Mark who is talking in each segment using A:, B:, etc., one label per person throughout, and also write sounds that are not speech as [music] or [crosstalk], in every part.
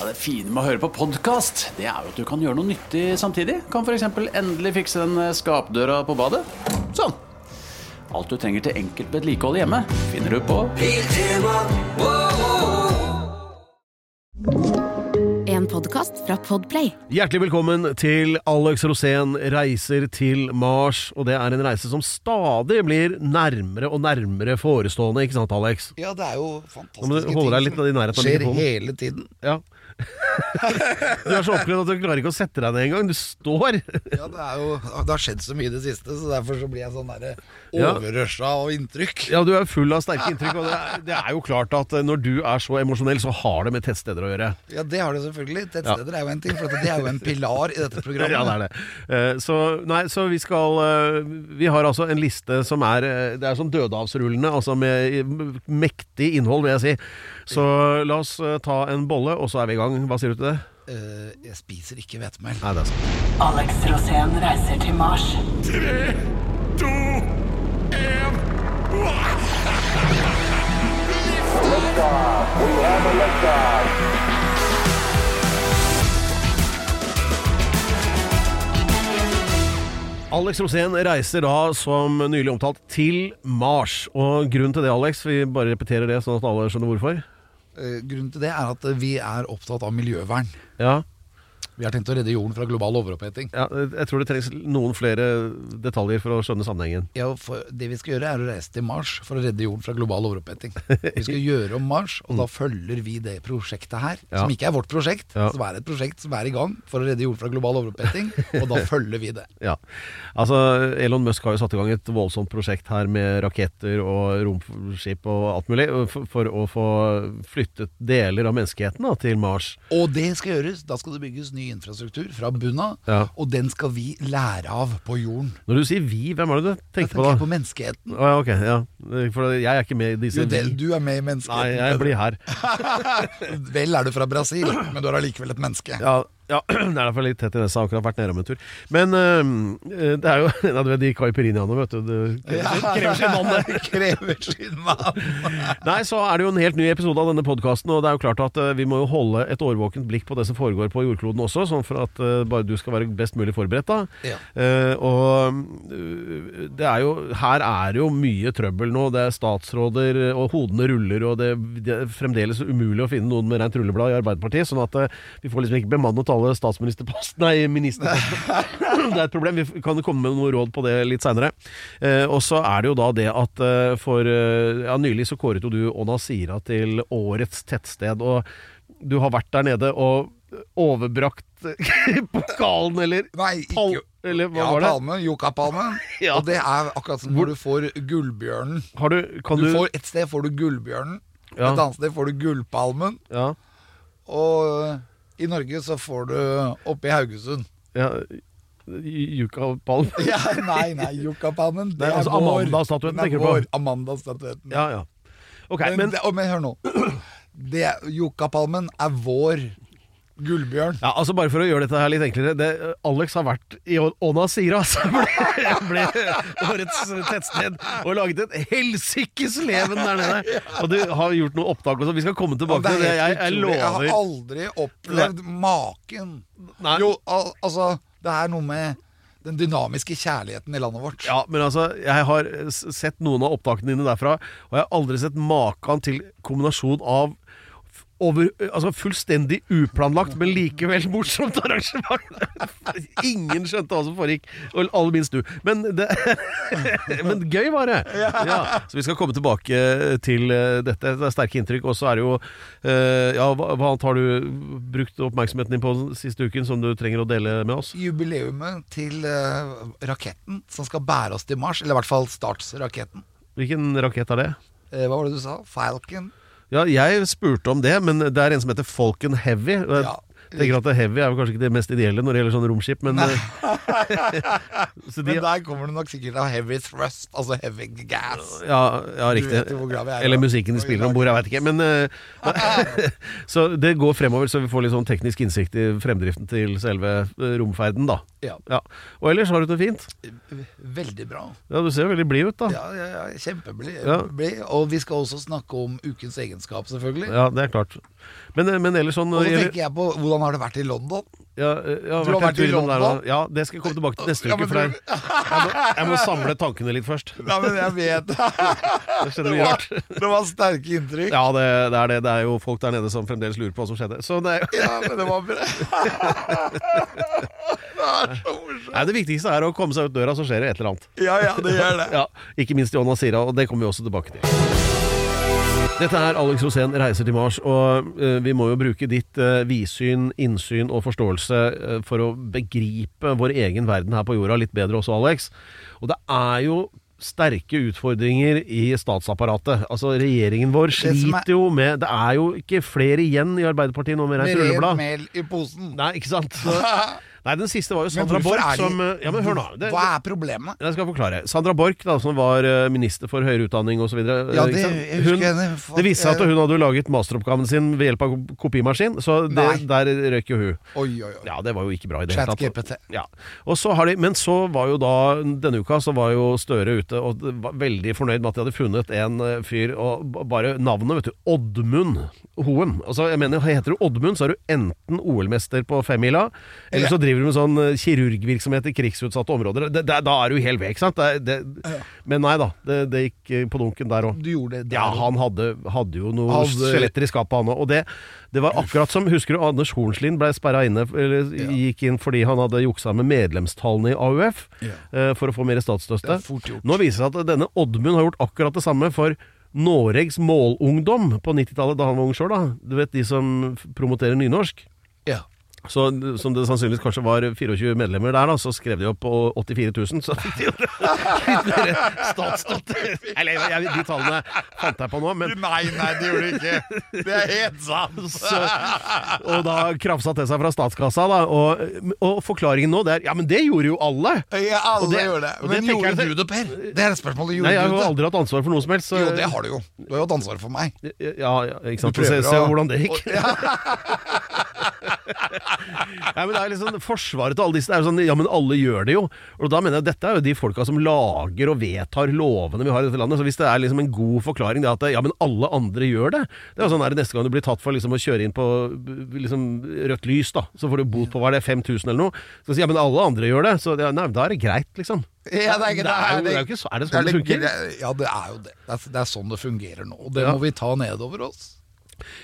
A: Ja, det fine med å høre på podkast, det er jo at du kan gjøre noe nyttig samtidig. Kan f.eks. endelig fikse den eh, skapdøra på badet. Sånn. Alt du trenger til enkelt vedlikehold hjemme, finner du på
B: En podcast fra Podplay
C: Hjertelig velkommen til Alex Rosén reiser til Mars. Og det er en reise som stadig blir nærmere og nærmere forestående, ikke sant, Alex?
D: Ja, det er jo
C: Nå må du
D: fantastiske
C: holde deg
D: ting
C: litt i
D: som
C: nærheten av
D: skjer
C: mikrofonen.
D: hele tiden.
C: Ja. [laughs] Du er så oppglødd at du klarer ikke å sette deg ned engang. Du står.
D: Ja, det, er jo, det har skjedd så mye i det siste, så derfor så blir jeg sånn der
C: Ja.
D: overrøsja av inntrykk.
C: Ja, du er full av sterke inntrykk. Og det er, det er jo klart at eh, når du er så emosjonell, så har det med tettsteder å gjøre.
D: Ja, det har du selvfølgelig. Tettsteder er jo en ting, for at det er jo en pilar i dette programmet.
C: [laughs] Ja, det er det. Eh, Så, nei, så vi skal eh, Vi har altså en liste som er eh, Det er sånn dødehavsrullende, altså med i- mektig innhold, vil jeg si. Så la oss eh, ta en bolle, og så er vi i gang. Hva sier du til det?
D: Eh, jeg spiser ikke hvetemel.
C: Nei, det er sant.
E: Alex Rosén reiser til Mars.
C: Alex Rosén reiser da, som nylig omtalt, til Mars. Og grunnen til det, Alex, vi bare repeterer det sånn at alle skjønner hvorfor.
D: Eh, grunnen til det er at vi er opptatt av miljøvern.
C: Ja,
D: Vi har tenkt å redde jorden fra global overoppheting.
C: ja, jeg tror det trengs noen flere detaljer for å skjønne sammenhengen.
D: Ja, for det vi skal gjøre er å reise til Mars for å redde jorden fra global overoppheting. Vi
C: [laughs]
D: skal gjøre om Mars, og da følger vi det prosjektet her,
C: Mm. Ja.
D: som ikke er vårt prosjekt,
C: Ja.
D: som er et prosjekt som er i gang for å redde jorden fra global overoppheting, og
C: [laughs]
D: da følger vi det.
C: Ja. Altså, Elon Musk har jo satt i gang et voldsomt prosjekt her med raketter og romskip og alt mulig for, for å få flyttet deler av menneskeheten da, til Mars.
D: Og det skal gjøres, da skal det bygges ny infrastruktur fra bunnen av,
C: Ja.
D: og den skal vi lære av på jorden.
C: Når du sier vi, hvem er det du
D: Jeg
C: tenker på da?
D: tenker på menneskeheten.
C: Å, ja, ok, ja. For jeg er ikke med i disse
D: Jo, det,
C: vi.
D: du er med i
C: Nei,
D: menneskeheten.
C: jeg blir her.
D: [laughs] Vel er du fra Brasil, men du er allikevel et menneske.
C: Ja, ja, [clears throat] det er derfor litt tett i nesa. Akkurat vært nede om en tur. Men øhm, øh, det er jo [laughs] ja, du vet, de caipirinhaene, vet du. Det krever sin mann, det.
D: [laughs] krever sin mann.
C: Nei, så er det jo en helt ny episode av denne podkasten, og det er jo klart at eh, vi må jo holde et årvåkent blikk på det som foregår på jordkloden også, sånn for at eh, bare du skal være best mulig forberedt, da.
D: Ja.
C: Eh, og mm, det er jo Her er det jo mye trøbbel nå. Det er statsråder, eh, og hodene ruller, og det, det er fremdeles umulig å finne noen med rent rulleblad i Arbeiderpartiet, sånn at eh, vi får liksom ikke bemannet alle statsministerposten Nei, ministerpostene. [laughs] det er et problem. Vi f- kan komme med noe råd på det litt seinere. Eh, og så er det jo da det at eh, for eh, ja, Nylig så kåret jo du Onasira til årets tettsted, og du har vært der nede og overbrakt [laughs] pokalen, eller
D: Nei, ikke-
C: pal- Eller hva
D: ja,
C: var det?
D: palme, Yucca-palme. [laughs]
C: Ja.
D: Og det er akkurat som hvor du får gullbjørnen.
C: Har du, kan
D: Du
C: du,
D: får, et sted får du gullbjørnen, et
C: Ja.
D: annet sted får du gullpalmen,
C: ja,
D: og eh, i Norge så får du oppe i Haugesund.
C: ja, Yucca-palm.
D: [laughs] Ja, nei, nei, Yucca-palmen, det
C: Nei, altså
D: er vår.
C: Amanda-statuen
D: Den er
C: tenker du på?
D: vår, Amanda-statuetten.
C: Ja, ja. Ok,
D: men,
C: men
D: det, å, men hør nå. Det- Yucca-palmen er vår gullbjørn.
C: Ja, altså Bare for å gjøre dette her litt enklere det, Alex har vært i Onasira, [laughs] som ble, ble årets tettsted, og laget et helsikes leven
D: [laughs]
C: der nede. Og du har gjort noe opptak og sånn. Vi skal komme tilbake
D: Ja,
C: til det.
D: det er
C: Jeg,
D: helt
C: jeg
D: utrolig. Jeg
C: lover.
D: har aldri opplevd maken.
C: Nei.
D: Jo, al altså, det er noe med den dynamiske kjærligheten i landet vårt.
C: Ja, men altså, jeg har s- sett noen av opptakene dine derfra, og jeg har aldri sett maken til kombinasjon av f- over, altså fullstendig uplanlagt, men likevel morsomt arrangement. [laughs] Ingen skjønte hva som foregikk, og aller minst du. Men, det, [laughs] men gøy var det. Ja, så vi skal komme tilbake til eh, dette. Det er sterke inntrykk. Og så er det jo eh, Ja, hva, hva annet har du brukt oppmerksomheten din på den siste uken som du trenger å dele med oss?
D: Jubileumet til eh, raketten som skal bære oss til Mars, eller i hvert fall startsraketten.
C: Hvilken rakett er det?
D: Eh, hva var det du sa? Falcon?
C: Ja, jeg spurte om det, men det er en som heter Falcon Heavy. og jeg-
D: Ja.
C: Tenker at Heavy er jo kanskje ikke det mest ideelle når det gjelder sånne romskip, men eh, [laughs] Så de,
D: Men der kommer det nok sikkert av heavy thrust, altså heavy gas.
C: ja, ja, riktig.
D: vet jo hvor glad vi er,
C: Eller
D: da.
C: musikken de spiller om bord, jeg veit ikke. Men, eh, [laughs] så det går fremover, så vi får litt sånn teknisk innsikt i fremdriften til selve eh, romferden, da.
D: Ja.
C: Ja. Og ellers har du det fint?
D: Veldig bra.
C: Ja, Du ser jo veldig blid ut, da.
D: Ja, ja, ja kjempeblid.
C: Ja.
D: Blid. Og vi skal også snakke om ukens egenskap, selvfølgelig.
C: Ja, det er klart. Men, eh, men ellers sånn
D: Og så
C: gjelder-
D: tenker jeg på hvordan har det vært i London?
C: Ja, eh, jeg har
D: Du har
C: vært en
D: vært i
C: tur innom der
D: London?
C: også. Ja, det skal jeg komme tilbake til neste
D: Ja,
C: uke.
D: men
C: For det,
D: du-
C: er- jeg, må, jeg må samle tankene litt først.
D: [laughs] Ja, men jeg vet [laughs] det.
C: Det skjedde mye
D: Var,
C: rart. [laughs]
D: det var sterke inntrykk.
C: Ja, det, det er det. Det er jo folk der nede som fremdeles lurer på hva som skjedde. Så det, er-
D: [laughs] Ja, men det var
C: [laughs]
D: bra. Det er så morsomt.
C: nei, det viktigste er å komme seg ut døra, så skjer det et eller annet.
D: Ja, ja, det gjør det.
C: Ja, ikke minst i Åna Sira, og det kommer vi også tilbake til. Dette er Alex Rosén reiser til Mars, og eh, vi må jo bruke ditt eh, vidsyn, innsyn og forståelse eh, for å begripe vår egen verden her på jorda litt bedre også, Alex. Og det er jo sterke utfordringer i statsapparatet. Altså, regjeringen vår
D: som er-
C: sliter jo med Det er jo ikke flere igjen i Arbeiderpartiet nå med
D: Med
C: rent
D: rent
C: rulleblad.
D: mel i posen.
C: Nei, ikke sant? Så,
D: [laughs]
C: nei, den siste var jo
D: Men
C: Sandra
D: hvorfor
C: Borch
D: er de-
C: som eh, Ja, men hør nå. Det,
D: Hva er problemet?
C: jeg skal forklare. Sandra Borch, da, som var eh, minister for høyere utdanning osv.
D: Ja, det- jeg husker henne.
C: Det viste seg at hun hadde jo laget masteroppgaven sin ved hjelp av kopimaskin, så det,
D: Nei.
C: der røk jo hun.
D: Oi, oi, oi.
C: Ja, det var jo ikke bra i det
D: ChatGPT.
C: Ja. Og så har de, men så var jo da denne uka så var jo Støre ute og var veldig fornøyd med at de hadde funnet en eh, fyr og b- bare navnet, vet du. Oddmund Hoem. Altså, jeg mener, heter du Oddmund, så er du enten OL-mester på femmila, eller så driver du med sånn eh, kirurgvirksomhet i krigsutsatte områder. Det, det, da er du helt vekk, sant? Det, det, men nei da, det, det gikk eh, på dunken der òg.
D: Du gjorde det der
C: Ja,
D: også.
C: han hadde, hadde jo noe
D: Hadde-
C: skjeletter i skapet, han òg. Og det, det var akkurat som Husker du Anders Hornslien ble sperra inne, eller gikk inn fordi han hadde juksa med medlemstallene i AUF
D: Ja.
C: eh, for å få mer statsstøtte.
D: Det er fort gjort.
C: Nå viser det seg at denne Oddmund har gjort akkurat det samme for Noregs målungdom på 90-tallet, da han var ung sjøl, da. Du vet de som f- promoterer nynorsk.
D: Ja.
C: Så, som det sannsynligvis kanskje var 24 medlemmer der, da, så skrev de opp på 84 000. Så fikk [laughs] de jo statsstøtte. Eller jeg, de tallene fant jeg på nå, men
D: Nei, nei, det gjorde du ikke. Det er helt sant.
C: [laughs] så, Og da krafsa til seg fra statskassa, da. Og, og forklaringen nå det er Ja, men det gjorde jo alle!
D: Ja, alle
C: Og det-
D: gjorde det.
C: og det
D: Men
C: tenker
D: gjorde du
C: jeg-
D: det, Per? Det er spørsmålet. Gjorde
C: Nei, jeg
D: du
C: har jo
D: det?
C: aldri hatt ansvar for noe som helst. Så,
D: Jo, det har du jo. Du har jo hatt ansvar for meg.
C: ja, ja, ikke sant.
D: Du prøver
C: Se, se
D: å-
C: hvordan det gikk. [laughs] Nei, men det er liksom Forsvaret til alle disse det er jo sånn Ja, men alle gjør det jo. Og da mener jeg dette er jo de folka som lager og vedtar lovene vi har i dette landet. Så hvis det er liksom en god forklaring det at ja, men alle andre gjør det Det er jo sånn der neste gang du blir tatt for liksom å kjøre inn på liksom rødt lys, da. Så får du bot på hva er det, 5000 eller noe. Så sier jeg, ja, men alle andre gjør det. Så ja, nei, da er det greit, liksom.
D: Ja, det er, ikke-
C: Det er jo- det er jo ikke så- er det sånn det funker?
D: gre- Ja, det er jo det. Det er, det er sånn det fungerer nå. Og det
C: Ja.
D: må vi ta nedover oss.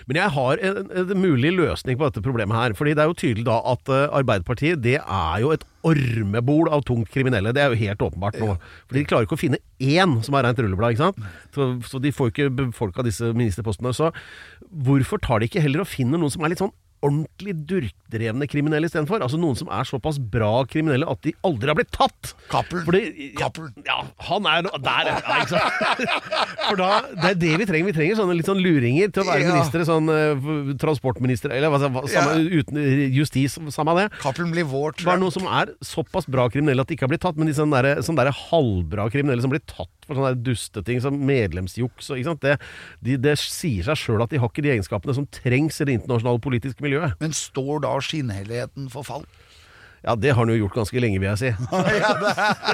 C: Men jeg har en, en mulig løsning på dette problemet her. Fordi det er jo tydelig da at eh, Arbeiderpartiet det er jo et ormebol av tungt kriminelle. Det er jo helt åpenbart nå. Fordi de klarer ikke å finne én som er rent rulleblad. ikke sant? Så, så de får jo ikke befolka disse ministerpostene. Så hvorfor tar de ikke heller og finner noen som er litt sånn ordentlig durkdrevne kriminelle istedenfor? Altså noen som er såpass bra kriminelle at de aldri har blitt tatt.
D: Cappelen.
C: Fordi- ja,
D: Cappelen.
C: ja, han er no- der, ja, ikke sant? [laughs] For da, det er det vi trenger. Vi trenger sånne litt sånn luringer til å være
D: Ja.
C: ministre. Sånn eh, transportminister, eller hva, hva samme, uten, justis, samme det.
D: Cappelen blir vår
C: Bare
D: Trump.
C: noen som er såpass bra kriminelle at de ikke har blitt tatt, men de sånn sånne, der, sånne der halvbra kriminelle som blir tatt for sånne der dusteting som medlemsjuks og ikke sant. Det, de, det sier seg sjøl at de har ikke de egenskapene som trengs i det internasjonale politiske miljøet.
D: Men står da skinnhelligheten for fall?
C: Ja, det har han jo gjort ganske lenge, vil jeg si.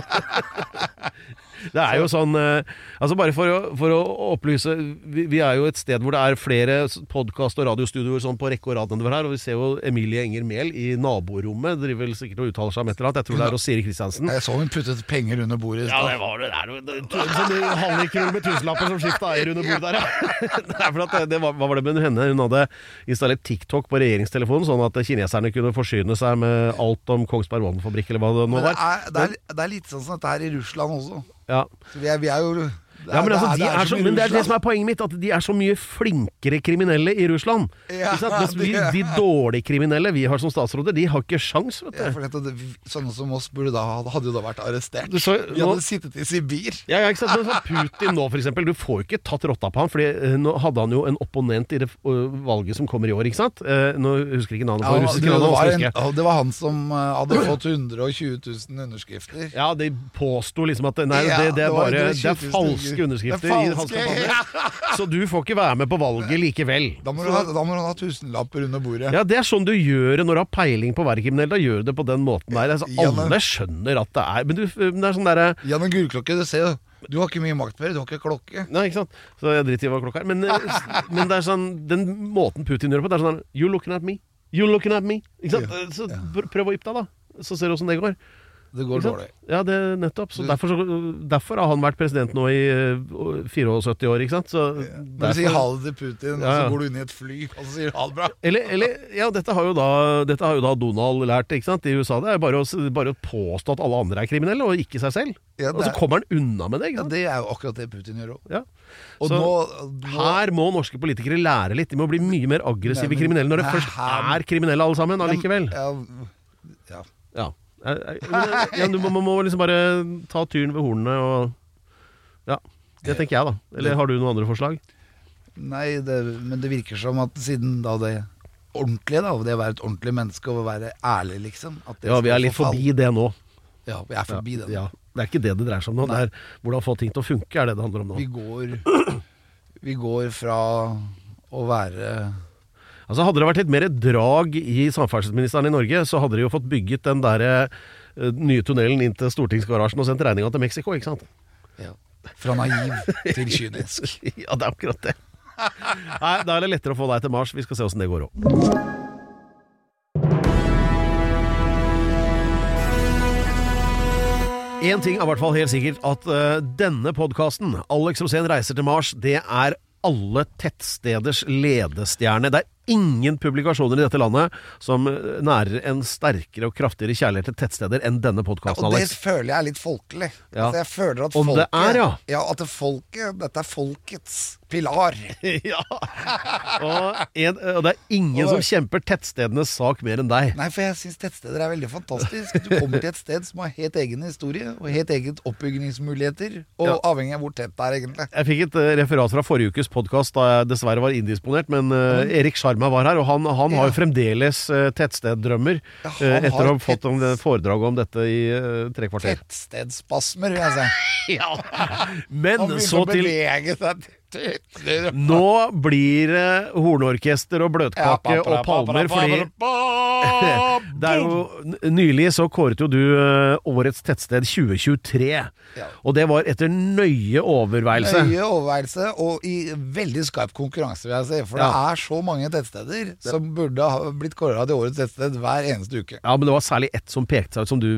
C: [laughs] Det er jo sånn eh, Altså Bare for å, for å opplyse vi, vi er jo et sted hvor det er flere podkast- og radiostudioer sånn på rekke og rad nedover her. Og vi ser jo Emilie Enger Mehl i naborommet. Driver vel sikkert og uttaler seg om et eller annet. Jeg tror det er hos Siri Kristiansen.
D: Jeg så hun puttet penger under bordet. i
C: Mm. Ja,
D: stad.
C: det var det. Det er jo det- det- sånn hallikrull med tusenlapper som skifta eier under bordet der, ja. [laughs] Det er for at det, det var, hva var det med henne? Hun hadde installert TikTok på regjeringstelefonen, sånn at kineserne kunne forsyne seg med alt om Kongsberg Wonderfabrikk eller hva det nå
D: Men det
C: var.
D: er, det, er, det er litt sånn som dette her i Russland også.
C: Ja.
D: Så vi er, vi er jo Det
C: Ja, men, altså, de
D: det
C: er så,
D: som i
C: men det er det
D: Russland.
C: som er poenget mitt, at de er så mye flinkere kriminelle i Russland.
D: Ja,
C: Ikke sant? Mens vi, [laughs]
D: det er-
C: de dårlige kriminelle vi har som statsråder, de har ikke sjans, vet
D: Ja,
C: du.
D: for dette- det- Sånne som oss burde da, hadde jo da vært arrestert.
C: Du så-
D: Vi
C: nå-
D: hadde sittet i Sibir.
C: Ja, ja, ikke sant? Men sånn Putin nå, for eksempel. Du får jo ikke tatt rotta på ham, Fordi eh, nå hadde han jo en opponent i det eh, valget som kommer i år, ikke sant? Eh, Nå husker jeg ikke
D: Ja,
C: navnet på
D: det,
C: russiske
D: det,
C: navnet.
D: var en,
C: også husker jeg.
D: ja, det var han som eh, hadde fått 120 000 underskrifter.
C: Ja, de påsto liksom at nei,
D: Ja,
C: det, det
D: det
C: er
D: var
C: bare det
D: 120
C: er
D: 000
C: falske underskrifter.
D: Det er
C: i hans
D: falske,
C: kampanje. Så du får ikke være med på valget likevel.
D: Da må, du ha, da må du ha tusenlapper under bordet.
C: Ja, Det er sånn du gjør det når du har peiling på å være kriminell. Da gjør du det på den måten der. Altså,
D: Ja, men-
C: alle skjønner at det er Men du, men det er sånn derre
D: Jan en gullklokke, du ser jo. Du har ikke mye makt mer, du har ikke klokke.
C: Nei, ikke sant? Så jeg driter i hva klokka er. Men, eh, men det er sånn, den måten Putin gjør det på, det er sånn der, You looking at me. You looking at me. Ikke sant?
D: Ja,
C: Så pr- prøv å yppe deg, da. Så ser du åssen det går.
D: Det går
C: Ikke sant?
D: dårlig.
C: Ja, det er nettopp. Så
D: Du-
C: derfor, så derfor har han vært president nå i eh, 74 år, ikke sant? Så
D: Når du sier ha det til Putin,
C: Ja, ja.
D: så går du inn i et fly, og så sier du ha det bra.
C: Eller, eller Ja, dette har jo da, dette har jo da Donald lært ikke sant? i USA. Det er bare å, s- bare å påstå at alle andre er kriminelle, og ikke seg selv.
D: Ja,
C: og
D: det
C: så
D: er-
C: kommer han unna med
D: Ja,
C: det. ikke sant?
D: det er jo akkurat det Putin gjør òg.
C: Ja.
D: Og
C: Så
D: nå, nå
C: her må norske politikere lære litt. De må bli mye mer aggressive kriminelle når det
D: Nei,
C: først
D: her-
C: er kriminelle alle sammen allikevel.
D: ja, ja.
C: Ja. Eh, eh, men, ja, du må, man må liksom bare ta tyren ved hornene og Ja. Det tenker jeg, da. Eller har du noen andre forslag?
D: Nei, det, men det virker som at siden da det ordentlige, da, det å være et ordentlig menneske og å være ærlig, liksom at det
C: Ja, vi
D: skal
C: er litt
D: forfalle-
C: forbi det nå.
D: Ja, vi er forbi det. nå.
C: Ja. Det er ikke det det dreier seg om nå. Det er hvordan få ting til å funke, er det det handler om nå.
D: Vi går Vi går fra å være
C: Altså Hadde det vært litt mer drag i samferdselsministeren i Norge, så hadde de jo fått bygget den der eh, nye tunnelen inn til stortingsgarasjen og sendt regninga til Mexico, ikke sant?
D: ja, fra naiv til
C: [laughs]
D: kynisk.
C: ja, det er akkurat det. [laughs] Nei, Da er det lettere å få deg til Mars. Vi skal se åssen det går òg. Én ting er i hvert fall helt sikkert, at eh, denne podkasten, Alex Rosén reiser til Mars, det er alle tettsteders ledestjerne. Det er ingen publikasjoner i dette landet som eh, nærer en sterkere og kraftigere kjærlighet til tettsteder enn denne podkasten,
D: Og det
C: Alex.
D: føler jeg er litt folkelig.
C: Ja.
D: Altså, jeg føler at
C: Om det
D: folket,
C: er, ja.
D: at det folket, dette er folkets pilar.
C: ja. og, en, og det er ingen som kjemper tettstedenes sak mer enn deg.
D: Nei, for jeg syns tettsteder er veldig fantastisk. Du kommer til et sted som har helt egen historie, og helt eget oppbyggingsmuligheter. Og
C: Ja.
D: avhengig av hvor tett det er, egentlig.
C: Jeg fikk et eh, referat fra forrige ukes podkast da jeg dessverre var indisponert, men eh, Erik Sjarma var her, og han, han har jo fremdeles eh, tettsteddrømmer
D: Ja,
C: eh,
D: han
C: etter
D: har
C: å ha fått om det
D: tetts-
C: foredraget om dette i eh, tre kvarter.
D: Tettstedsspasmer, vil jeg si.
C: Ja. Men
D: Han
C: så
D: begynner å
C: til
D: bevege seg til hytter.
C: Nå blir det hornorkester og bløtkake og palmer, fordi [laughs] det er jo, n- nylig så kåret jo du eh, årets tettsted 2023.
D: Ja.
C: Og det var etter nøye overveielse.
D: Høye overveielse, og i veldig skarp konkurranse, vil jeg si. For det
C: Ja.
D: er så mange tettsteder som burde ha blitt kåra til årets tettsted hver eneste uke.
C: Ja, men det var særlig ett som pekte seg ut som du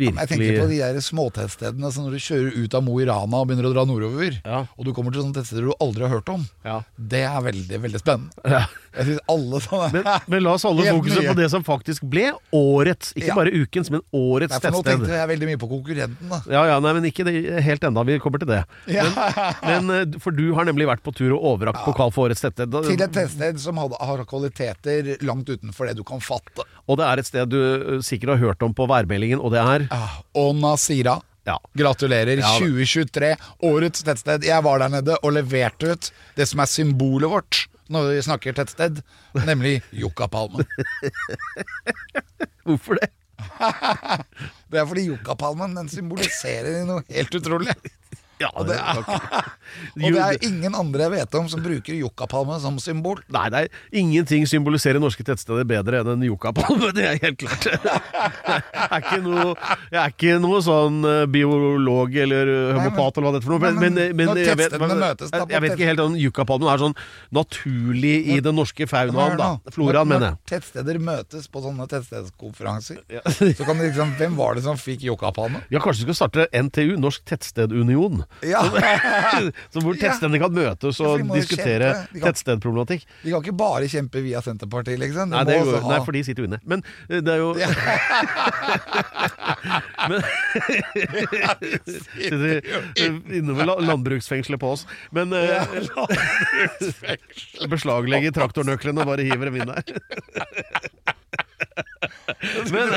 C: virkelig
D: Jeg tenker på de der småtettstedene som når du kjører ut av Mo i Rana og begynner å dra nordover,
C: Ja.
D: og du kommer til sånne tettsteder du aldri har hørt om.
C: Ja.
D: Det er veldig, veldig spennende. Jeg synes alle sånne
C: Men, men la oss
D: [laughs]
C: holde
D: Helt
C: fokuset
D: nye.
C: på det som faktisk ble årets, ikke
D: Ja.
C: bare ukens, men årets
D: Nei, for nå
C: tettsted.
D: tenkte jeg veldig mye på konkurrenten, da.
C: Ja, ja, nei, men ikke det, helt enda, vi kommer til det. Men, eh, for du har nemlig vært på tur og overrakt pokal for årets tettsted. Da-
D: [laughs] Til et tettsted som hadde, har kvaliteter langt utenfor det du kan fatte.
C: Og det er et sted du eh, sikkert har hørt om på værmeldingen, og det er
D: Ah, Åna Sira.
C: Ja.
D: Gratulerer.
C: Ja, det-
D: 2023, årets tettsted. Jeg var der nede og leverte ut det som er symbolet vårt når vi snakker tettsted,
C: [laughs]
D: nemlig yuccapalmen.
C: Hvorfor det?
D: Det er fordi yuccapalmen den symboliserer noe helt utrolig.
C: Ja, det er
D: [laughs] Og det er ingen andre jeg vet om som bruker yuccapalmen som symbol.
C: Nei, nei, ingenting symboliserer norske tettsteder bedre enn en yucapalme, [laughs] det er helt klart. Jeg er ikke noe, jeg er ikke noe sånn eh, biolog eller eh,
D: Nei, men-
C: homopat eller hva det er for noe,
D: Nei,
C: men, eh,
D: men
C: men, men
D: når
C: jeg, vet,
D: tettstedene møtes, da, på
C: jeg vet ikke helt om yucapalmen er sånn naturlig i den norske faunaen, da. Floraen,
D: Når-
C: mener jeg.
D: Når tettsteder møtes på sånne tettstedskonferanser, så kan de liksom Hvem var det som fikk yuccapalme? [laughs]
C: [laughs] Ja, kanskje du skal starte NTU, Norsk Tettstedunion.
D: Ja.
C: Så hvor tettstedene kan møtes
D: Ja, for
C: og
D: de må jo
C: diskutere
D: kjempe. De kan-
C: tettstedproblematikk.
D: De kan ikke bare kjempe via Senterpartiet, liksom. De
C: Nei, det
D: må
C: går,
D: også ha-
C: nei, for de sitter jo inne. Men eh, det er jo [laughs] Men Sitter inne ved la- landbruksfengselet på oss. Men eh, beslaglegger traktornøklene og bare hiver dem inn [laughs] der. [laughs] Men,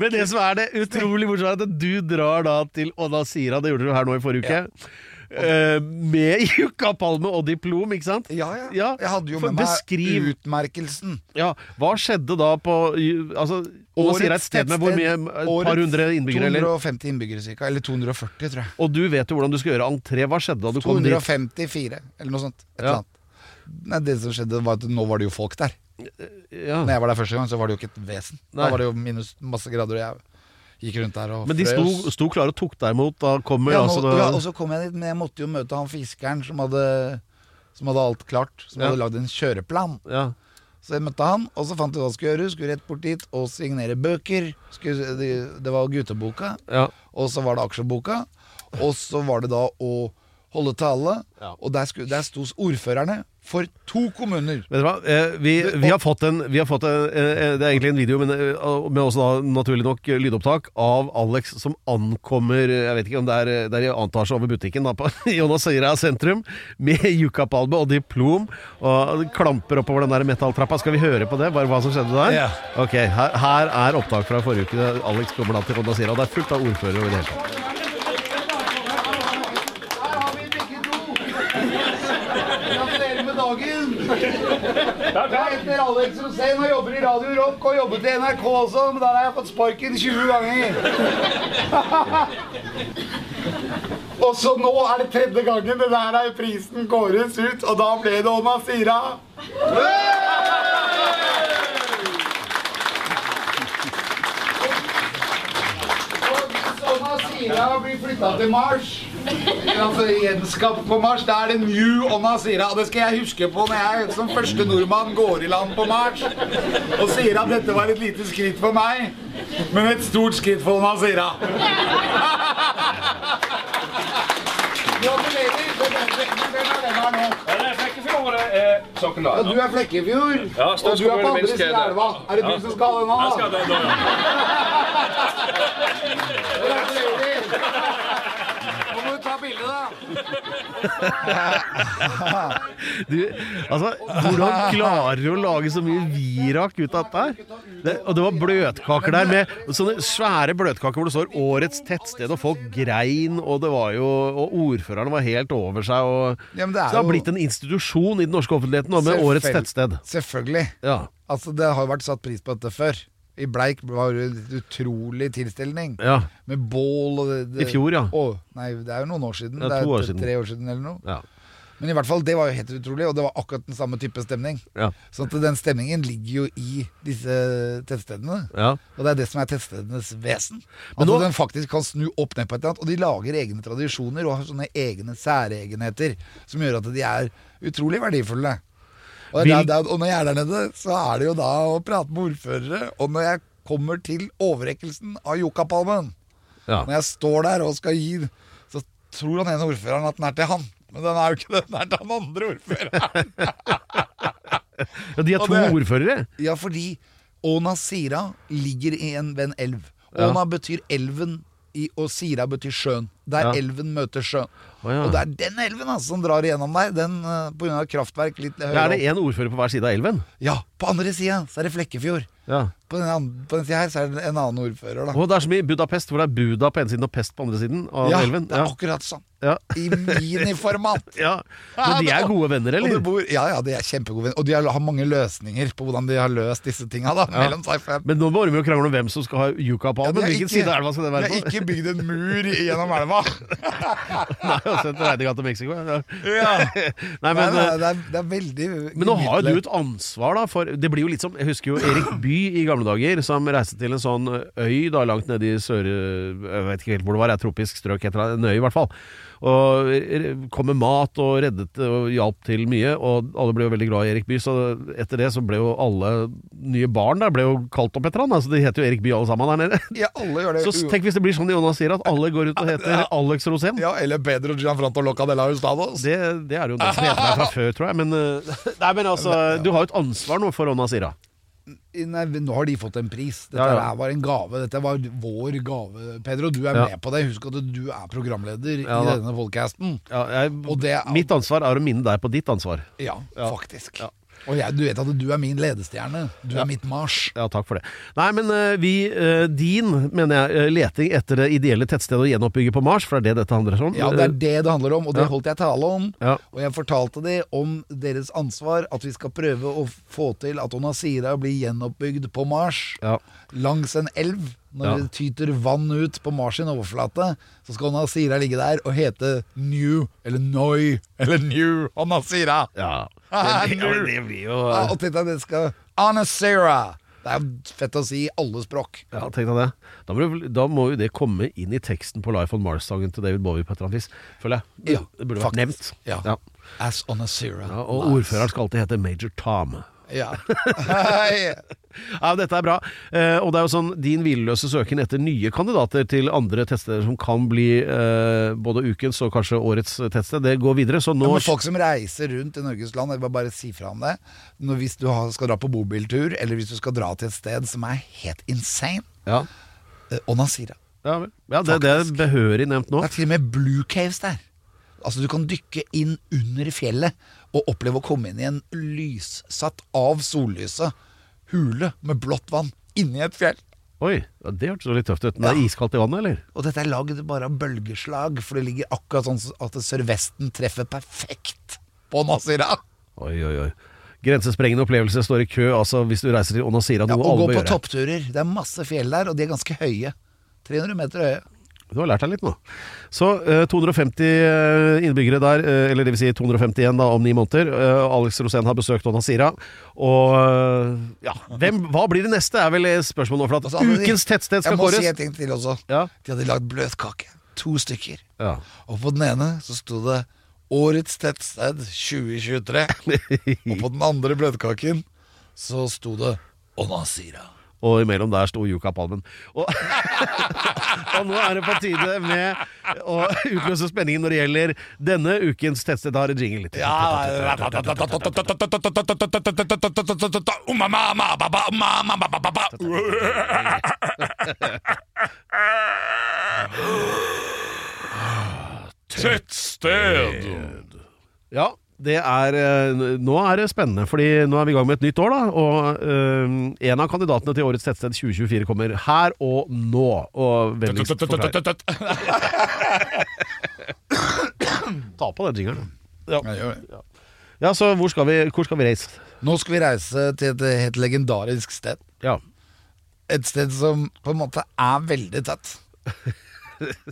C: men det som er det utrolig morsomme, er at du drar da til Og da sier han, det gjorde du her nå i forrige uke. eh, med [laughs] Jukka Palme og diplom, ikke sant?
D: Ja, ja, Jeg hadde jo
C: for
D: med meg
C: beskriv,
D: utmerkelsen.
C: ja, Hva skjedde da på altså, Nå sier jeg et sted med hvor mye Et par hundre innbyggere, eller?
D: 250 innbyggere cirka, eller 240, tror jeg.
C: Og du vet jo hvordan du skal gjøre entré. Hva skjedde da du kom dit?
D: 254, eller noe sånt. Et eller
C: Ja.
D: annet. Nei, det som skjedde, var at nå var det jo folk der.
C: Ja.
D: Når jeg var der første gang, så var det jo ikke et vesen.
C: Nei.
D: Da var det jo minus masse grader, og jeg gikk rundt der og
C: Men de sto, sto klare og tok deg imot. Da kommer
D: ja, nå,
C: altså da,
D: ja, og så kom jeg dit, men jeg måtte jo møte han fiskeren som hadde, som hadde alt klart. Som
C: Ja.
D: hadde lagd en kjøreplan.
C: ja.
D: Så jeg møtte han, og så fant vi hva jeg skulle gjøre. Skulle rett bort dit og signere bøker. Skulle, det, det var gutteboka,
C: Ja.
D: og så var det aksjeboka. Og så var det da å holde tale,
C: Ja.
D: og der, skulle, der sto ordførerne for to kommuner.
C: Vet du hva? Eh, Vi, vi har fått en, vi har fått en eh, eh, Det er egentlig en video, men eh, med også da naturlig nok eh, lydopptak av Alex som ankommer eh, Jeg vet ikke om det er, eh, det er i annen etasje over butikken da, på [laughs] Jonas Øyra sentrum, med yuccapalme og diplom, og klamper oppover den der metalltrappa. Skal vi høre på det? Bare hva som skjedde der?
D: Ja.
C: Ok, her, her er opptak fra forrige uke. Alex kommer da til Jonas Øyra, og det er fullt av ordførere over det hele tatt.
D: Her har vi begge to! Gratulerer med dagen! Jeg heter Alex Rosén og jobber i Radio Rock og jobbet i NRK også, men der har jeg fått sparken 20 ganger. Og så nå er det tredje gangen det der er prisen kåres ut, og da ble det Oma Sira. Oma Sira blir flytta til Mars. Altså gjenskapt på Mars. Da er det New Onna Sira. Og det skal jeg huske på når jeg som første nordmann går i land på Mars og sier at dette var et lite skritt for meg, men et stort skritt for Onna Sira. Gratulerer. Hvem er den her nå?
F: Nei, Flekkefjord er
D: Ja,
F: sokkeldag.
D: du er Flekkefjord,
F: Ja,
D: og du er på andre siden av elva. Er det
F: Ja.
D: du som skal ha den
F: Jeg
D: nå?
F: skal
D: da?
F: da, da, ja.
D: Gratulerer. Nå må du ta bilde, da.
C: Du, altså, hvordan klarer du å lage så mye virak ut av dette? her? Det, og det var bløtkaker der med sånne svære bløtkaker hvor det står 'Årets tettsted', og folk grein, og det var jo Og ordføreren var helt over seg, og
D: Ja, men det er
C: Så det har
D: jo-
C: blitt en institusjon i den norske offentligheten nå, med 'Årets
D: Selvføl-
C: tettsted'.
D: Selvfølgelig.
C: Ja.
D: Altså, det har jo vært satt pris på dette før. I Bleik var det en utrolig tilstelning.
C: Ja.
D: Med bål og det, det,
C: I fjor, ja.
D: Å, nei, det er jo noen år siden.
C: Ja,
D: det er
C: to år
D: tre-
C: siden.
D: tre år siden eller noe.
C: ja.
D: Men i hvert fall, det var jo helt utrolig, og det var akkurat den samme type stemning.
C: Ja.
D: Så at den stemningen ligger jo i disse tettstedene.
C: Ja.
D: Og det er det som er tettstedenes vesen. At
C: Men nå-
D: den faktisk kan snu opp ned på et eller annet. Og de lager egne tradisjoner og har sånne egne særegenheter som gjør at de er utrolig verdifulle. Og, det er
C: Vil-
D: der- der, og når jeg er der nede, så er det jo da å prate med ordførere. Og når jeg kommer til overrekkelsen av Jokapalmen,
C: ja.
D: når jeg står der og skal gi den, så tror han ene ordføreren at den er til han. Men den er jo ikke det, den er til han andre ordføreren.
C: ja de har
D: Og
C: to
D: det-
C: ordførere.
D: Ja, fordi Åna Sira ligger i en ved en elv.
C: Ja.
D: Åna betyr elven, i, og Sira betyr sjøen. Der
C: Ja.
D: elven møter sjøen.
C: Å, ja.
D: Og det er den elven altså, som drar igjennom der. Den eh, på grunn av kraftverk litt høyere
C: Ja, er det
D: opp.
C: én ordfører på hver side av elven?
D: Ja, på andre sida så er det Flekkefjord.
C: Ja.
D: På den, andre, på den sida her så er det en annen ordfører, da.
C: Og det er som i Budapest, hvor det er Buda på ene siden og Pest på andre siden av
D: ja,
C: elven.
D: det er akkurat sånn.
C: Ja.
D: I miniformat.
C: [laughs] ja. Men de er gode venner,
D: Og
C: eller?
D: det bor, ja, ja, de er kjempegode venner. Og de har, har mange løsninger på hvordan de har løst disse tinga. da, mellom seg. For jeg-
C: Men nå må de jo krangle om hvem som skal ha yucca på
D: Ja, de
C: almen.
D: har ikke-
C: Hvilken side av elva skal det være
D: De har
C: på?
D: ikke bygd en mur gjennom elva.
C: [laughs] Nei, altså, et regnegate til Mexico. Ja. [laughs] Nei,
D: Nei,
C: men, eh,
D: nei, det, er, det er veldig
C: men nå har jo du et ansvar, da. For det blir jo litt som Jeg husker jo Erik Bye i gamle dager, som reiste til en sånn øy da langt nede i sør... Jeg vet ikke helt hvor det var, et tropisk strøk, et eller annet. En øy, i hvert fall. Og eh, kom med mat og reddet og hjalp til mye. Og alle ble jo veldig glad i Erik Bye, så etter det så ble jo alle nye barn der ble jo kalt opp etter han. Altså, de heter jo Erik Bye alle sammen der nede.
D: Ja, alle gjør det.
C: Så tenk hvis det blir sånn Jonas sier, at alle går ut og heter Alex Rosén.
D: Ja, eller Pedro Gianfranto Locadella Hustados.
C: Det, det er det jo den som heter deg fra før, tror jeg. Men, eh, nei, [laughs] men altså, du har jo et ansvar nå for Ona Sira.
D: Nei, nå har de fått en pris. Dette
C: Ja, ja.
D: her var en gave. Dette var vår gave, Pedro. Du er
C: Ja.
D: med på det. Husk at du er programleder
C: Ja,
D: i
C: da.
D: denne podcasten.
C: Ja, jeg,
D: Og det er-
C: mitt ansvar er å minne deg på ditt ansvar.
D: Ja, faktisk. Og jeg, du vet at du er min ledestjerne. Du er mitt Mars.
C: Ja, takk for det. Nei, men eh, vi eh, Din, mener jeg, eh, leting etter det ideelle tettstedet å gjenoppbygge på Mars, for det er det dette handler om.
D: Ja, det er det det handler om, og det
C: Eh, Ja.
D: holdt jeg tale om.
C: Ja.
D: Og jeg fortalte de om deres ansvar, at vi skal prøve å få til at Onasira blir gjenoppbygd på Mars.
C: Ja.
D: Langs en elv. Når
C: Ja.
D: det tyter vann ut på Mars sin overflate, så skal Onasira ligge der og hete New, eller Noi, [laughs] eller New Onasira.
C: Eh, Ja.
D: Ah,
C: Det, ja,
D: nu.
C: det blir jo
D: Ja, Ah, og tenk deg det skal Onasira! Det er jo fett å si i alle språk.
C: Ja, tenk deg det. Da må, du, da må jo det komme inn i teksten på Life on Mars-sangen til David Bowie på et eller annet vis, føler jeg.
D: Ja,
C: det burde vært nevnt.
D: faktisk. Ja.
C: Ja.
D: As Onasira.
C: Ja, og ordføreren skal alltid hete Major Tom.
D: Ja.
C: Ja, dette er bra. Eh, og det er jo sånn din hvileløse søken etter nye kandidater til andre tettsteder som kan bli eh, både ukens og kanskje årets tettsted, det går videre. Så nå
D: Men folk som reiser rundt i Norges land, jeg vil bare si fra om det Når, Hvis du har, skal dra på bobiltur, eller hvis du skal dra til et sted som er helt insane
C: Ja,
D: eh, Onasira.
C: ja, vel. ja det, det er behørig nevnt nå.
D: Det er til og med Blue Caves der. Altså Du kan dykke inn under fjellet og oppleve å komme inn i en lyssatt av sollyset hule med blått vann inni et fjell.
C: Oi, ja, det hørtes jo litt tøft ut. Men det er
D: Ja.
C: iskaldt i vannet, eller?
D: Og dette er lagd bare av bølgeslag, for det ligger akkurat sånn at sørvesten treffer perfekt på Onasira.
C: Oi, oi, oi. Grensesprengende opplevelse står i kø altså hvis du reiser til Onasira.
D: Ja,
C: Noe
D: og
C: alle
D: gå
C: bør
D: på
C: gjøre.
D: toppturer. Det er masse fjell der, og de er ganske høye. 300 meter høye.
C: Du har lært deg litt nå. Så eh, 250 eh, innbyggere der, eh, eller det vil si 251 da, om ni måneder. Eh, Alex Rosén har besøkt Onasira. Og eh, ja, hvem, hva blir det neste, er vel spørsmålet nå. For at altså,
D: Og så hadde de-
C: ukens tettsted
D: Mm.
C: skal
D: Jeg må si
C: kåres.
D: en ting til også.
C: Ja.
D: De hadde lagd bløtkake. To stykker.
C: Ja.
D: Og på den ene så sto det 'Årets tettsted 2023'.
C: [laughs]
D: og på den andre bløtkaken så sto det 'Onasira'.
C: Og imellom der sto Yuka Palmen. Og, [laughs] og nå er det på tide med å utløse spenningen når det gjelder denne ukens tettsted. Da er det jingle.
D: Ja,
C: Ja, det er eh, Nå er det spennende, fordi nå er vi i gang med et nytt år, da. Og eh, en av kandidatene til årets tettsted 2024 kommer her og nå. Og vennligst forklar. Ta på den jingeren. Ja, så hvor skal vi, hvor skal vi reise?
D: Nå skal vi reise til et helt legendarisk sted.
C: Ja.
D: Et sted som på en måte er veldig
C: [laughs]
D: tett.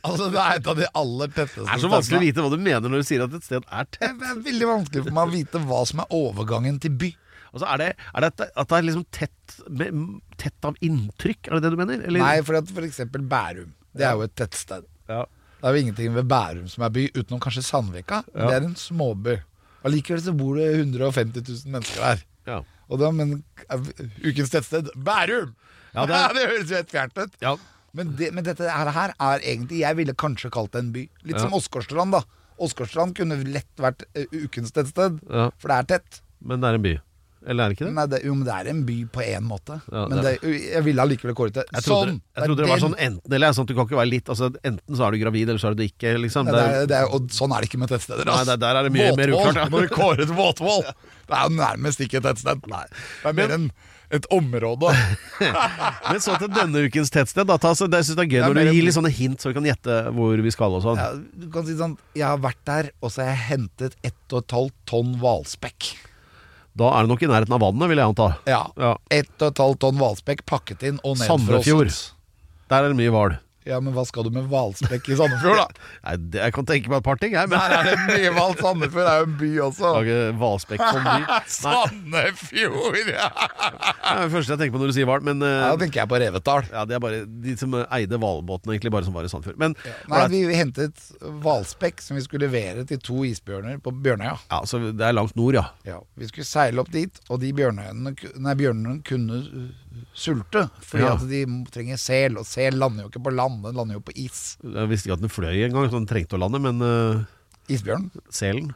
D: Altså, det er et av de aller tetteste
C: Det er så
D: stedene.
C: vanskelig å vite hva du mener når du sier at et sted er tett.
D: Det er veldig vanskelig for meg å vite hva som er overgangen til by.
C: Altså, er det, er det at det- at det er liksom tett, med, tett av inntrykk? Er det det du mener? Eller?
D: Nei, for at for eksempel Bærum, det er jo et tettsted.
C: Ja.
D: Det er jo ingenting ved Bærum som er by, utenom kanskje Sandvika. men Det er en småby. Allikevel så bor det 150 000 mennesker der.
C: Ja.
D: Og da, men er- ukens tettsted Bærum!
C: Ja,
D: [laughs]
C: det
D: det,
C: er-
D: høres jo helt fjernt ut.
C: Ja.
D: Men, det, men dette her, her er egentlig Jeg ville kanskje kalt det en by. Litt som Åsgårdstrand, da. Åsgårdstrand kunne lett vært eh, ukens tettsted,
C: Ja.
D: for det er tett.
C: Men det er en by. Eller er det ikke det?
D: Nei, det, jo, men det er en by på én måte.
C: Ja,
D: men det,
C: det
D: jeg ville allikevel kåret det
C: Jeg trodde,
D: sånn.
C: jeg trodde det var sånn enten eller. Sånn at du kan ikke være litt altså, Enten så er du gravid, eller så er du det ikke. Liksom.
D: Nei,
C: Det
D: det
C: er,
D: er, det er, og sånn er det ikke med tettsteder. ass.
C: Nei, der- der er det mye mer
D: Våtvål,
C: uklart, ja.
D: Når du kårer et våtvål, det er jo nærmest ikke et tettsted. Det er mer enn et område.
C: men så til denne ukens tettsted. Da, ta, så, det, jeg synes det er gøy
D: er
C: når
D: mer-
C: du gir litt sånne hint, så vi kan gjette hvor vi skal og sånn.
D: Ja, du kan si sånn Jeg har vært der, og så har jeg hentet ett og et halvt tonn hvalspekk.
C: Da er det nok i nærheten av vannet, vil jeg anta.
D: Ja.
C: Ja.
D: Ett og et halvt tonn hvalspekk pakket inn og nedfrosset.
C: Sandefjord. Der er det mye hval.
D: Ja, men hva skal du med hvalspekk i Sandefjord,
C: [laughs]
D: da?
C: Nei, det, jeg kan tenke meg et par ting, jeg. Men
D: Der er det mye hval. Sandefjord er jo en by også.
C: lage hvalspekk
D: [laughs]
C: som [laughs] by.
D: Sandefjord! Ja.
C: Det er det første jeg tenker på når du sier hval, men eh,
D: Da tenker jeg på Revetal.
C: ja, det er bare de som eide hvalbåten, egentlig, bare som var i Sandefjord. Men
D: Nei,
C: ålreit.
D: vi hentet hvalspekk som vi skulle levere til to isbjørner på Bjørnøya.
C: ja, så det er langt nord, ja.
D: Ja, vi skulle seile opp dit, og de bjørnene, nei, bjørnene kunne uh, sulte. Fordi
C: Ja.
D: at de trenger sel, og sel lander jo ikke på land, den lander jo på is.
C: Jeg visste ikke at den fløy engang, så den trengte å lande, men eh,
D: Isbjørn.
C: selen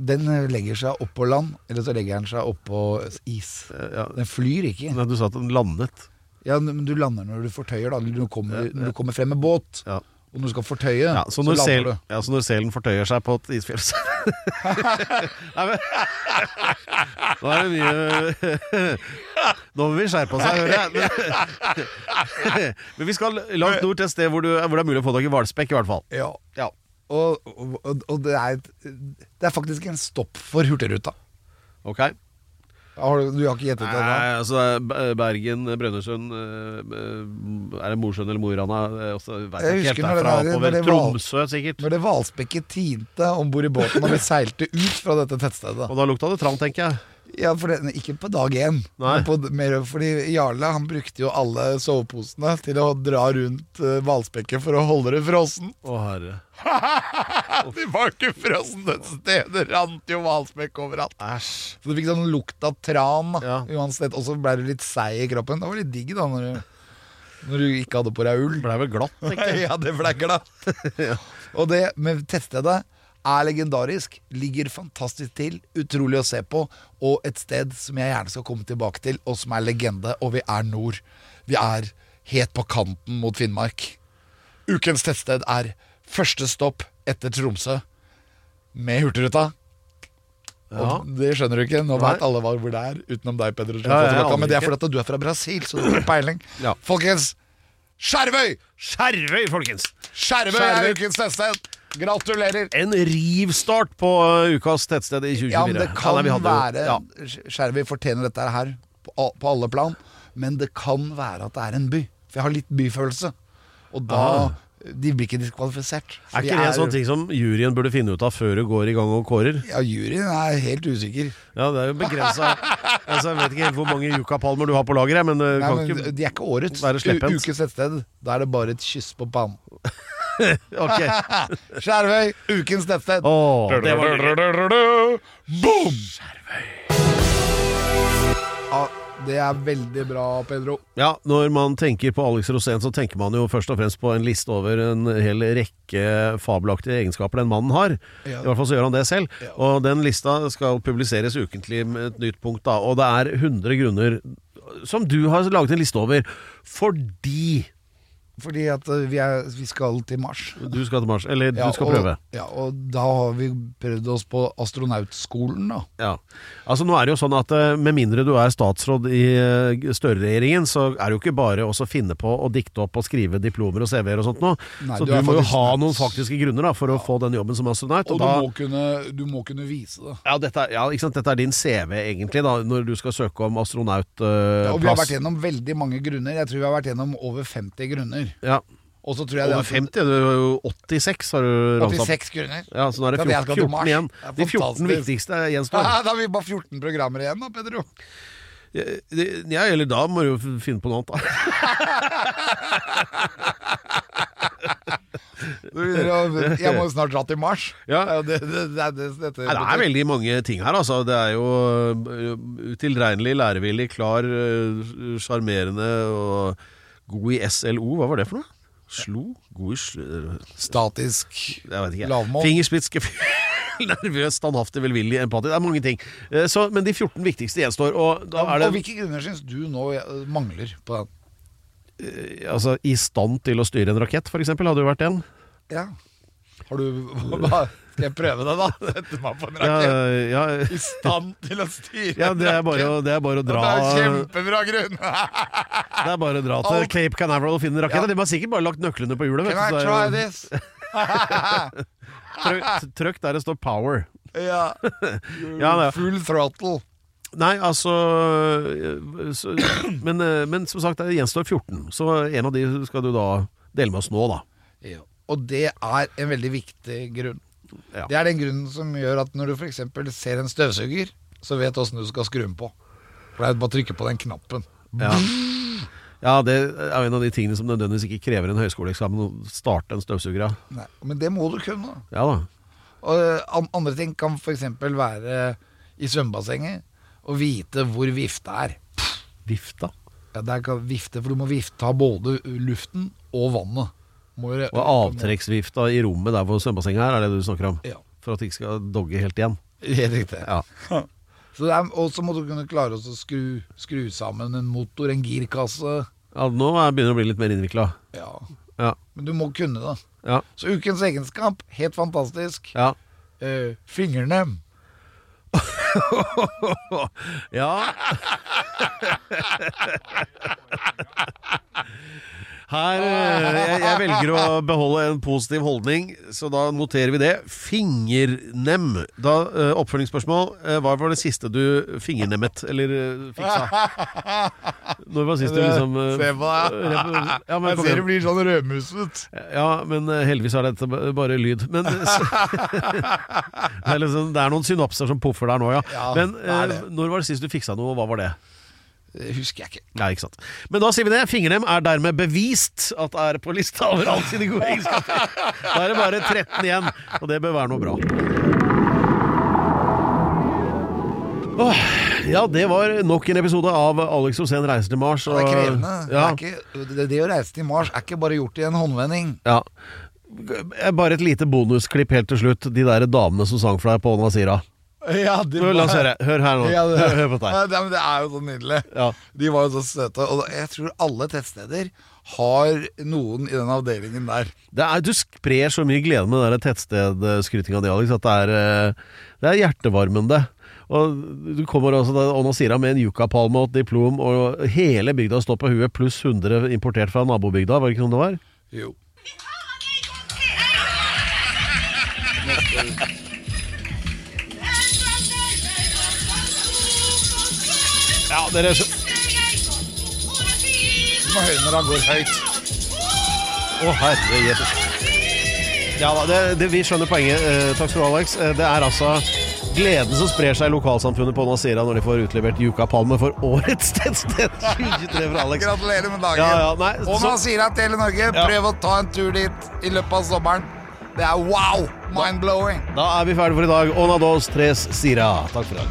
D: Den eh, legger seg oppå land, eller så legger den seg oppå is.
C: eh, ja.
D: Den flyr ikke.
C: Nei, du sa at den landet.
D: Ja, men du lander når du fortøyer, da. eller Når du kommer, når du kommer frem med båt.
C: Ja.
D: Og når du skal fortøye,
C: Ja, så, når
D: så
C: sel,
D: lander du.
C: ja, så når selen fortøyer seg på et isfjell så- [laughs] Nei, men Nå er det mye Nå må vi skjerpe oss her, hører jeg. Men, [laughs] men vi skal langt nord til et sted hvor, du, hvor det er mulig å få tak i hvalspekk, i hvert fall.
D: Ja.
C: Ja.
D: Og, og, og det, er et, det er faktisk en stopp for Hurtigruta.
C: Ok?
D: Har du, du har ikke gjettet det? da?
C: Nei, altså det er B- Bergen, Brønnøysund eh, eh, Er det Mosjøen eller Mo i Rana? Eh, også- vet
D: Jeg
C: Jeg vet
D: husker
C: ikke
D: når
C: helt
D: det
C: derfra
D: var- når
C: oppover.
D: det var-
C: Tromsø, sikkert.
D: Når det hvalspekket tinte om bord i båten og vi seilte ut fra dette tettstedet.
C: Og da lukta det tran, tenker jeg.
D: Ja, for det, Ikke på dag én,
C: Nei.
D: men på, mer, fordi Jarle han brukte jo alle soveposene til å dra rundt eh, hvalspekket for å holde det frossen. [laughs]
C: Å, herre.
D: De var ikke frosne et sted, det rant jo hvalspekk overalt.
C: Æsj.
D: Så du fikk sånn lukt av tran da,
C: Ja.
D: uansett, og så ble du litt seig i kroppen. Det var litt digg da, når du, når du ikke hadde på deg ull.
C: Blei vel
D: [laughs]
C: glatt, tenker jeg.
D: ja, det ble glatt.
C: [laughs]
D: Og det med tettstedet er legendarisk, ligger fantastisk til, utrolig å se på, og et sted som jeg gjerne skal komme tilbake til, og som er legende, og vi er nord. Vi er helt på kanten mot Finnmark. Ukens tettsted er første stopp etter Tromsø med Hurtigruta.
C: Ja.
D: Og det skjønner du ikke. Nå
C: Nei.
D: vet alle hva- hvor det er, utenom deg, Peder. som
C: Ja,
D: har fått
C: jeg
D: tilbake,
C: aner
D: Men det er
C: ikke.
D: fordi at du er fra Brasil, så du har peiling.
C: [clears throat] Ja.
D: Folkens, Skjervøy!
C: Skjervøy, folkens!
D: Skjervøy
C: Skjervøy.
D: er ukens tettsted! Gratulerer!
C: en rivstart på uh, ukas tettsted i 2024.
D: Ja, men det kan
C: nei, vi hadde jo-
D: være
C: ja.
D: Skjervøy fortjener dette her på, al- på alle plan, men det kan være at det er en by. For jeg har litt byfølelse. Og da
C: Ah.
D: De blir ikke diskvalifisert. For
C: Er
D: de
C: ikke det en sånn ting som juryen burde finne ut av før du går i gang og kårer?
D: Ja, juryen er helt usikker.
C: Ja, det er jo
D: [laughs]
C: begrensa altså, Jeg vet ikke helt hvor mange yucapalmer du har på lager, jeg, men, uh, du
D: Nei,
C: kan
D: men
C: ikke
D: De er ikke årets.
C: være slepphendt.
D: U- Ukens tettsted. Da er det bare et kyss på pannen.
C: Ok.
D: Skjervøy, ukens tettsted.
C: Åh, det var
D: Boom! Ja, det er veldig bra, Pedro.
C: Ja, når man tenker på Alex Rosén, så tenker man jo først og fremst på en liste over en hel rekke fabelaktige egenskaper den mannen har.
D: Ja.
C: I hvert fall så gjør han det selv.
D: Ja.
C: Og den lista skal publiseres ukentlig med et nytt punkt, da. Og det er 100 grunner som du har laget en liste over fordi
D: Fordi at eh, vi, er, vi skal til Mars.
C: du skal til Mars. Eller
D: Ja,
C: du skal
D: og,
C: prøve.
D: Ja, og da har vi prøvd oss på astronautskolen, da.
C: Ja. Altså nå er det jo sånn at eh, Med mindre du er statsråd i eh, Støre-regjeringen, så er det jo ikke bare å så finne på å dikte opp og skrive diplomer og CV-er og sånt noe.
D: Nei,
C: Så
D: du
C: du,
D: er
C: må jo
D: faktisk
C: ha
D: nødt.
C: noen faktiske grunner da for å få den jobben som astronaut.
D: Og
C: Og
D: du
C: da,
D: må, kunne, du må kunne vise det.
C: ja, dette, er- ja, ikke sant? dette er din CV, egentlig, da når du skal søke om eh,
D: Ja, og vi har
C: astronautplass.
D: vært gjennom veldig mange grunner. Jeg tror vi har vært gjennom over 50 grunner.
C: ja,
D: Og så tror jeg det
C: over
D: er
C: 50? Du er jo 86, har du ramsa opp.
D: 86 grunner.
C: Ja, så nå er
D: Ja, det
C: det
D: er
C: 14,
D: akkurat
C: 14
D: Mars.
C: igjen.
D: Det er
C: De 14
D: fantastisk.
C: viktigste
D: Da [laughs]
C: gjenstår.
D: har vi bare 14 programmer igjen, da,
C: [laughs]
D: Pedro.
C: Ja, eller da må du jo finne på noe
D: [laughs]
C: annet, da.
D: Du begynner å- Jeg må jo snart dra til Mars.
C: Ja.
D: Det, det, det, er det, dette
C: Nei, det er veldig mange ting her, altså. Det er jo ø, utilregnelig, lærevillig, klar, ø, sjarmerende og god i SLO. Hva var det for noe? Slo? God i sl... eh,
D: Statisk.
C: Jeg vet ikke.
D: Lavmål.
C: Fingerspitsk, [laughs] nervøs, standhaftig, velvillig, empati. Det er mange ting. Eh, Så, men de 14 viktigste gjenstår, og da er
D: Og
C: det
D: hvilke grunner syns du nå eh, mangler på den?
C: altså, I stand til å styre en rakett, for eksempel, hadde jo vært en.
D: Ja. Har du [laughs] hva, Skal jeg prøve det, da? [laughs] Sette meg på en
C: Ja, eh,
D: rakett.
C: ja,
D: I stand til å styre
C: ja, det er bare å, det er bare å
D: en
C: dra
D: rakett. Det er kjempebra grunn!
C: [laughs] Det er bare å dra til
D: Alt-
C: Cape Canaveral og finne raketter. De har sikkert bare lagt nøklene på hjulet. vet
D: Can
C: du,
D: I
C: så
D: try
C: er det
D: this?
C: jo trøkk- Trøkk der det står 'power'.
D: Ja.
C: Ja, det er-
D: Full throttle.
C: Nei, altså eh, øh, så, men, øh, men som sagt, det gjenstår 14. Så en av de skal du da dele med oss nå, da.
D: Ja. Og det er en veldig viktig grunn.
C: Ja.
D: Det er den grunnen som gjør at når du f.eks. ser en støvsuger, så vet du åssen du skal skru den på. For det er bare å trykke på den knappen.
C: Ja. ja, det er jo en av de tingene som nødvendigvis ikke krever en høyskoleeksamen å starte en støvsuger av.
D: Nei, men det må du kunne.
C: Ja da.
D: Og eh, an- andre ting kan f.eks. være i svømmebassenget å vite hvor vifta er.
C: Vifta.
D: Ja, det er ikke vifte, for du må vifte av både luften og vannet. Må gjøre-
C: Og avtrekksvifta i rommet der hvor svømmebassenget er, er det du snakker om?
D: Ja.
C: For at det ikke skal dogge helt igjen.
D: Helt riktig.
C: Ja.
D: [laughs] Så det er- Og så må du kunne klare å skru, skru sammen en motor, en girkasse.
C: ja nå er- begynner det å bli litt mer innvikla.
D: Ja,
C: Ja.
D: Men du må kunne det.
C: Ja.
D: Så ukens egenskap, helt fantastisk.
C: Ja.
D: Eh, fingrene.
C: Ja Her, eh, jeg, jeg velger å beholde en positiv holdning, så da noterer vi det. Fingernem. Da, eh, oppfølgingsspørsmål. Eh, Hva var det siste du fingernemmet, eller eh, fiksa? Når var sist du liksom eh,
D: Se på deg.
C: rep- ja, men,
D: Jeg
C: kom
D: ser du
C: igjen.
D: blir sånn rødmuset.
C: ja, men eh, heldigvis er dette b- bare lyd. Men eh, så, [laughs] det, er liksom, det er noen synapser som poffer der nå, ja.
D: Ja,
C: men
D: det er
C: eh,
D: det.
C: når var det sist du fiksa noe, og hva var det?
D: Det husker jeg ikke.
C: Nei, ikke sant. Men da sier vi det. Fingernem er dermed bevist at er på lista over alle sine gode egenskaper. Da er det bare 13 igjen, og det bør være noe bra. Åh, ja, det var nok en episode av Alex Rosén reiser til Mars.
D: Det er
C: og-
D: krevende.
C: Ja,
D: Det, er ikke, det, det å reise til Mars er ikke bare gjort i en håndvending.
C: ja. eh, Bare et lite bonusklipp helt til slutt. De der damene som sang for deg på Nasira.
D: [laughs] Ja, det
C: La oss høre. Hør her nå.
D: Ja, det,
C: [laughs] Hør, hør på dette. her.
D: Ja, det, men det er jo så nydelig.
C: Ja.
D: De var jo så søte. Og jeg tror alle tettsteder har noen i den avdelingen der.
C: Det er, du sprer så mye glede med den tettstedskrytinga di, Alex, at det er, eh, det er hjertevarmende. Og du kommer også til Onasira med en yucapalme og et diplom, og hele bygda står på huet, pluss 100 importert fra nabobygda, var det ikke sånn det var?
D: Jo.
C: Ja, dere
D: Du må høre når han går høyt.
C: Å, herre Jesus. Ja da, det, det, vi skjønner poenget. Eh, takk skal du ha, Alex. Eh, det er altså gleden som sprer seg i lokalsamfunnet på Nasira når de får utlevert yucapalme for årets [laughs] tettsted 2023 fra Alex.
D: Gratulerer med dagen.
C: Ja, ja, nei,
D: og
C: så-
D: man sier at hele Norge,
C: Ja.
D: prøv å ta en tur dit i løpet av sommeren. Det er wow! Mind-blowing.
C: Da er vi ferdige for i dag. Ona dos tres sira. Takk for i dag.